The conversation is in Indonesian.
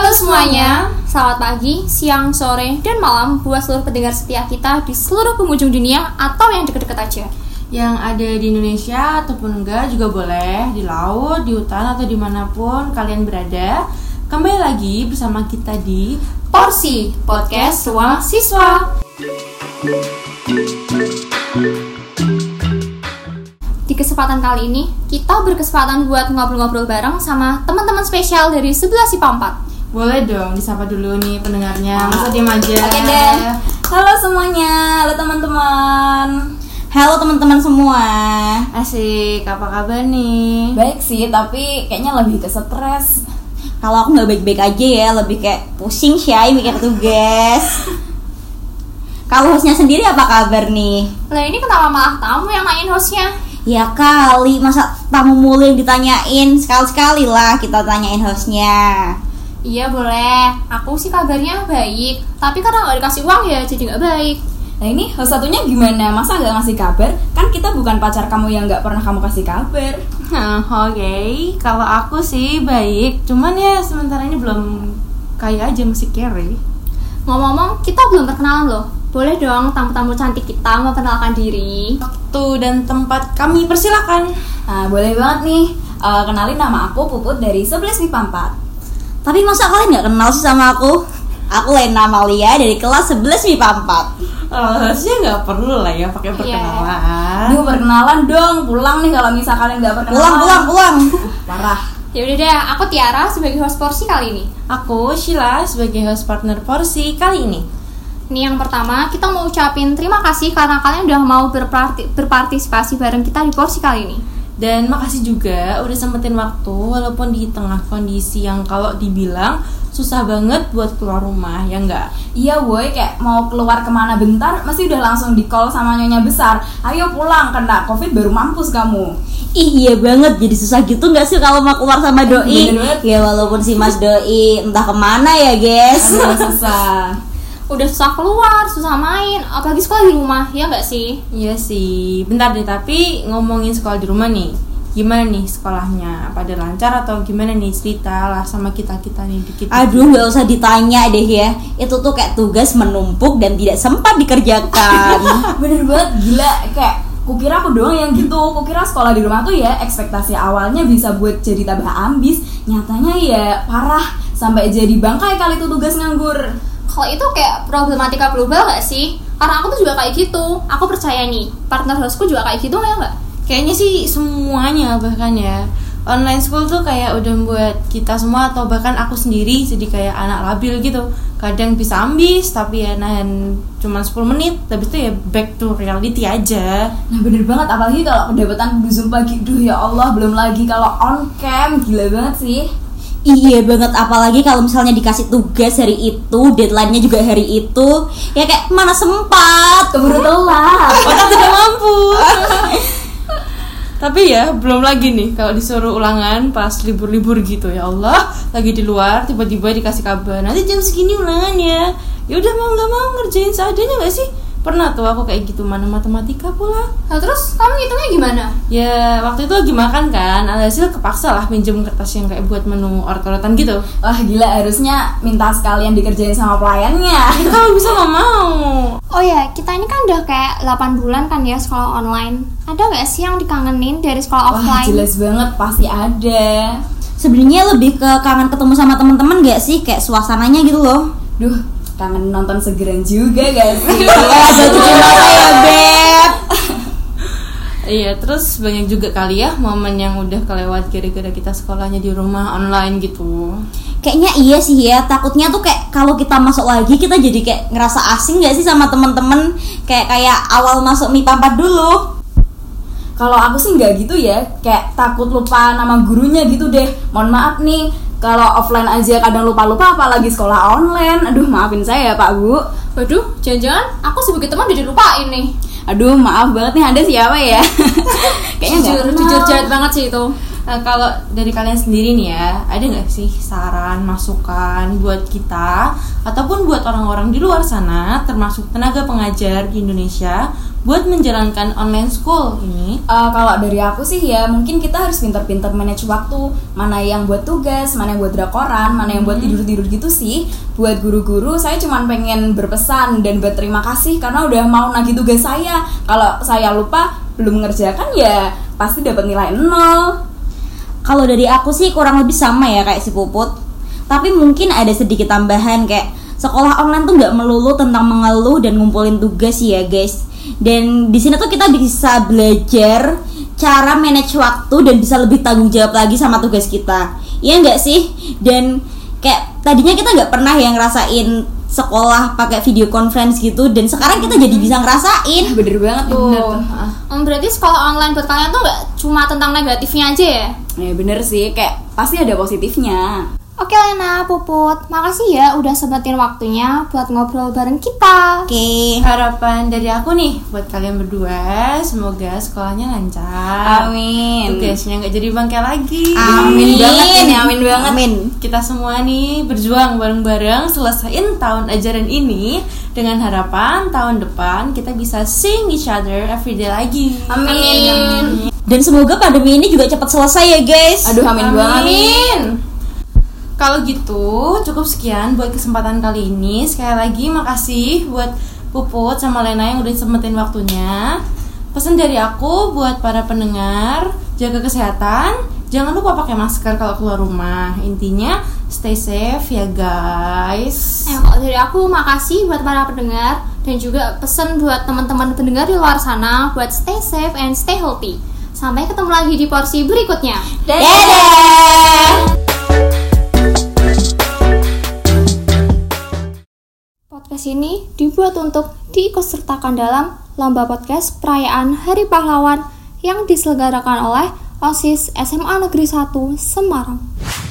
semuanya, selamat pagi, siang, sore, dan malam buat seluruh pendengar setia kita di seluruh penghujung dunia atau yang deket-deket aja. Yang ada di Indonesia ataupun enggak juga boleh di laut, di hutan atau dimanapun kalian berada. Kembali lagi bersama kita di Porsi Podcast Ruang Siswa. Di kesempatan kali ini, kita berkesempatan buat ngobrol-ngobrol bareng sama teman-teman spesial dari 11 IPA 4. boleh dong disapa dulu nih pendengarnya. Masa diem aja. Oke deh. Halo semuanya, halo teman-teman. Halo teman-teman semua. Asik, apa kabar nih? Baik sih, tapi kayaknya lebih ke stres. Kalau aku nggak baik-baik aja ya, lebih kayak pusing shy mikir tugas. Kalau hostnya sendiri apa kabar nih? Lah ini kenapa malah kamu yang nanyain hostnya? Ya kali, masa tamu mulu yang ditanyain Sekali-sekali lah kita tanyain hostnya Iya boleh, aku sih kabarnya baik Tapi karena nggak dikasih uang ya jadi nggak baik Nah ini host satunya gimana? Masa nggak ngasih kabar? Kan kita bukan pacar kamu yang nggak pernah kamu kasih kabar. Nah, Oke, kalau aku sih baik. Cuman ya sementara ini belum kaya aja masih carry. Ngomong-ngomong, kita belum perkenalan loh Boleh dong tamu-tamu cantik kita memperkenalkan diri Waktu dan tempat kami persilakan. Nah boleh banget nih. Eh, kenalin nama aku Puput dari 11 MIPA 4 Tapi masa kalian nggak kenal sih sama aku? Aku Lena Malia dari kelas 11 MIPA 4 Oh, harusnya nggak perlu lah ya pakai perkenalan. Duh perkenalan dong, pulang nih kalau misal kalian nggak perkenalan Pulang, pulang, pulang Parah Ya udah deh, aku Tiara sebagai host porsi kali ini Aku Sheila sebagai host partner porsi kali ini. Ini yang pertama, kita mau ucapin terima kasih karena kalian udah mau berparti- berpartisipasi bareng kita di porsi kali ini Dan makasih juga udah sempetin waktu walaupun di tengah kondisi yang kalau dibilang susah banget buat keluar rumah ya enggak. Iya boy, kayak mau keluar kemana bentar Mesti udah langsung di call sama nyonya besar Ayo pulang, kena covid baru mampus kamu Ih iya banget jadi susah gitu nggak sih kalau mau keluar sama doi Bener banget. Ya walaupun si mas doi entah kemana ya guys Aduh susah Udah susah keluar, susah main, apalagi sekolah di rumah, ya nggak sih? Iya sih. Bentar deh tapi ngomongin sekolah di rumah nih. Gimana nih sekolahnya? Pada lancar atau gimana nih cerita lah sama kita-kita nih dikit. Aduh nggak usah ditanya deh ya Itu tuh kayak tugas menumpuk dan tidak sempat dikerjakan Bener banget, gila Kayak kukira aku doang yang gitu Kukira sekolah di rumah tuh ya ekspektasi awalnya bisa buat jadi tambah ambis Nyatanya ya parah Sampai jadi bangkai kali tuh tugas nganggur Kalau itu kayak problematika global nggak sih? Karena aku tuh juga kayak gitu Aku percaya nih, partner hostku juga kayak gitu ya nggak? Kayaknya sih semuanya bahkan ya online school tuh kayak udah membuat kita semua atau bahkan aku sendiri jadi kayak anak labil gitu. Kadang bisa ambis tapi ya nahan cuma 10 menit tapi itu ya back to reality aja. Nah bener banget, apalagi kalau pendapatan kudu Zoom pagi Duh ya Allah, belum lagi kalau on cam Gila banget sih Iya banget apalagi kalau misalnya dikasih tugas hari itu Deadline-nya juga hari itu Ya kayak mana sempat Keburu telat Otak tidak mampu. Tapi ya belum lagi nih kalau disuruh ulangan pas libur-libur gitu ya Allah lagi di luar tiba-tiba dikasih kabar nanti jam segini ulangannya ya udah mau nggak mau ngerjain seadanya nggak sih pernah tuh aku kayak gitu mana matematika pula Nah, terus kamu ngitungnya gimana? ya waktu itu lagi makan kan alhasil kepaksa lah pinjem kertas yang kayak buat menu ortodotan gitu Wah gila, harusnya minta sekalian dikerjain sama pelayannya ya, kalau bisa nggak mau Oh ya, kita ini kan udah kayak 8 bulan kan ya sekolah online. Ada nggak sih yang dikangenin dari sekolah Wah offline? jelas banget, pasti ada Sebenarnya lebih ke kangen ketemu sama teman-teman gak sih kayak suasananya gitu loh Duh, kangen nonton segeran juga guys iya. Eh, jatuh cinta saya beb iya terus banyak juga kali ya momen yang udah kelewat gara-gara kita sekolahnya di rumah online gitu Kayaknya iya sih ya, takutnya tuh kayak kalau kita masuk lagi kita jadi kayak ngerasa asing gak sih sama temen-temen Kayak kayak awal masuk MIPA 4 dulu Kalau aku sih nggak gitu ya, kayak takut lupa nama gurunya gitu deh. Mohon maaf nih, kalau offline aja kadang lupa-lupa apalagi sekolah online. Aduh, maafin saya ya, Pak Bu. Waduh, jangan-jangan aku sebagai teman udah dilupain nih. Aduh, maaf banget nih Anda siapa ya? Kayaknya jujur, nggak kenal. jujur jahat banget sih itu. Nah, kalau dari kalian sendiri nih ya, ada nggak sih saran, masukan buat kita ataupun buat orang-orang di luar sana, termasuk tenaga pengajar di Indonesia, buat menjalankan online school ini? Eh, kalau dari aku sih ya mungkin kita harus pinter-pinter manage waktu mana yang buat tugas mana yang buat drakoran mana yang buat tidur-tidur gitu sih buat guru-guru saya cuman pengen berpesan dan berterima kasih karena udah mau nagih tugas saya kalau saya lupa belum mengerjakan ya pasti dapat nilai nol Kalau dari aku sih kurang lebih sama ya kayak si Puput. Tapi mungkin ada sedikit tambahan kayak sekolah online tuh nggak melulu tentang mengeluh dan ngumpulin tugas ya guys. Dan di sini tuh kita bisa belajar cara manage waktu dan bisa lebih tanggung jawab lagi sama tugas kita. Iya nggak sih? Dan kayak tadinya kita nggak pernah yang ngerasain sekolah pakai video conference gitu dan sekarang kita jadi bisa ngerasain. bener banget tuh Bener tuh, Em, ah. Hmm, berarti sekolah online buat kalian tuh nggak cuma tentang negatifnya aja ya? ya bener sih kayak pasti ada positifnya Oke Lena, Puput, makasih ya udah sempetin waktunya buat ngobrol bareng kita. Oke. Harapan dari aku nih buat kalian berdua, semoga sekolahnya lancar. amin Tugasnya nggak jadi bangke lagi. Amin banget ini, amin banget. Amin. Kita semua nih berjuang bareng-bareng selesaiin tahun ajaran ini dengan harapan tahun depan kita bisa seeing each other every day lagi. amin Dan semoga pandemi ini juga cepat selesai ya guys. aduh amin banget Amin. Kalau gitu cukup sekian buat kesempatan kali ini. Sekali lagi makasih buat Puput sama Lena yang udah sempetin waktunya. Pesan dari aku buat para pendengar, jaga kesehatan. Jangan lupa pakai masker kalau keluar rumah. Intinya stay safe ya guys. Eh, kalau dari aku makasih buat para pendengar dan juga pesan buat teman-teman pendengar di luar sana buat stay safe and stay healthy. Sampai ketemu lagi di porsi berikutnya. Dadah. Podcast ini dibuat untuk diikutsertakan dalam lomba podcast perayaan Hari Pahlawan yang diselenggarakan oleh OSIS SMA Negeri 1 Semarang.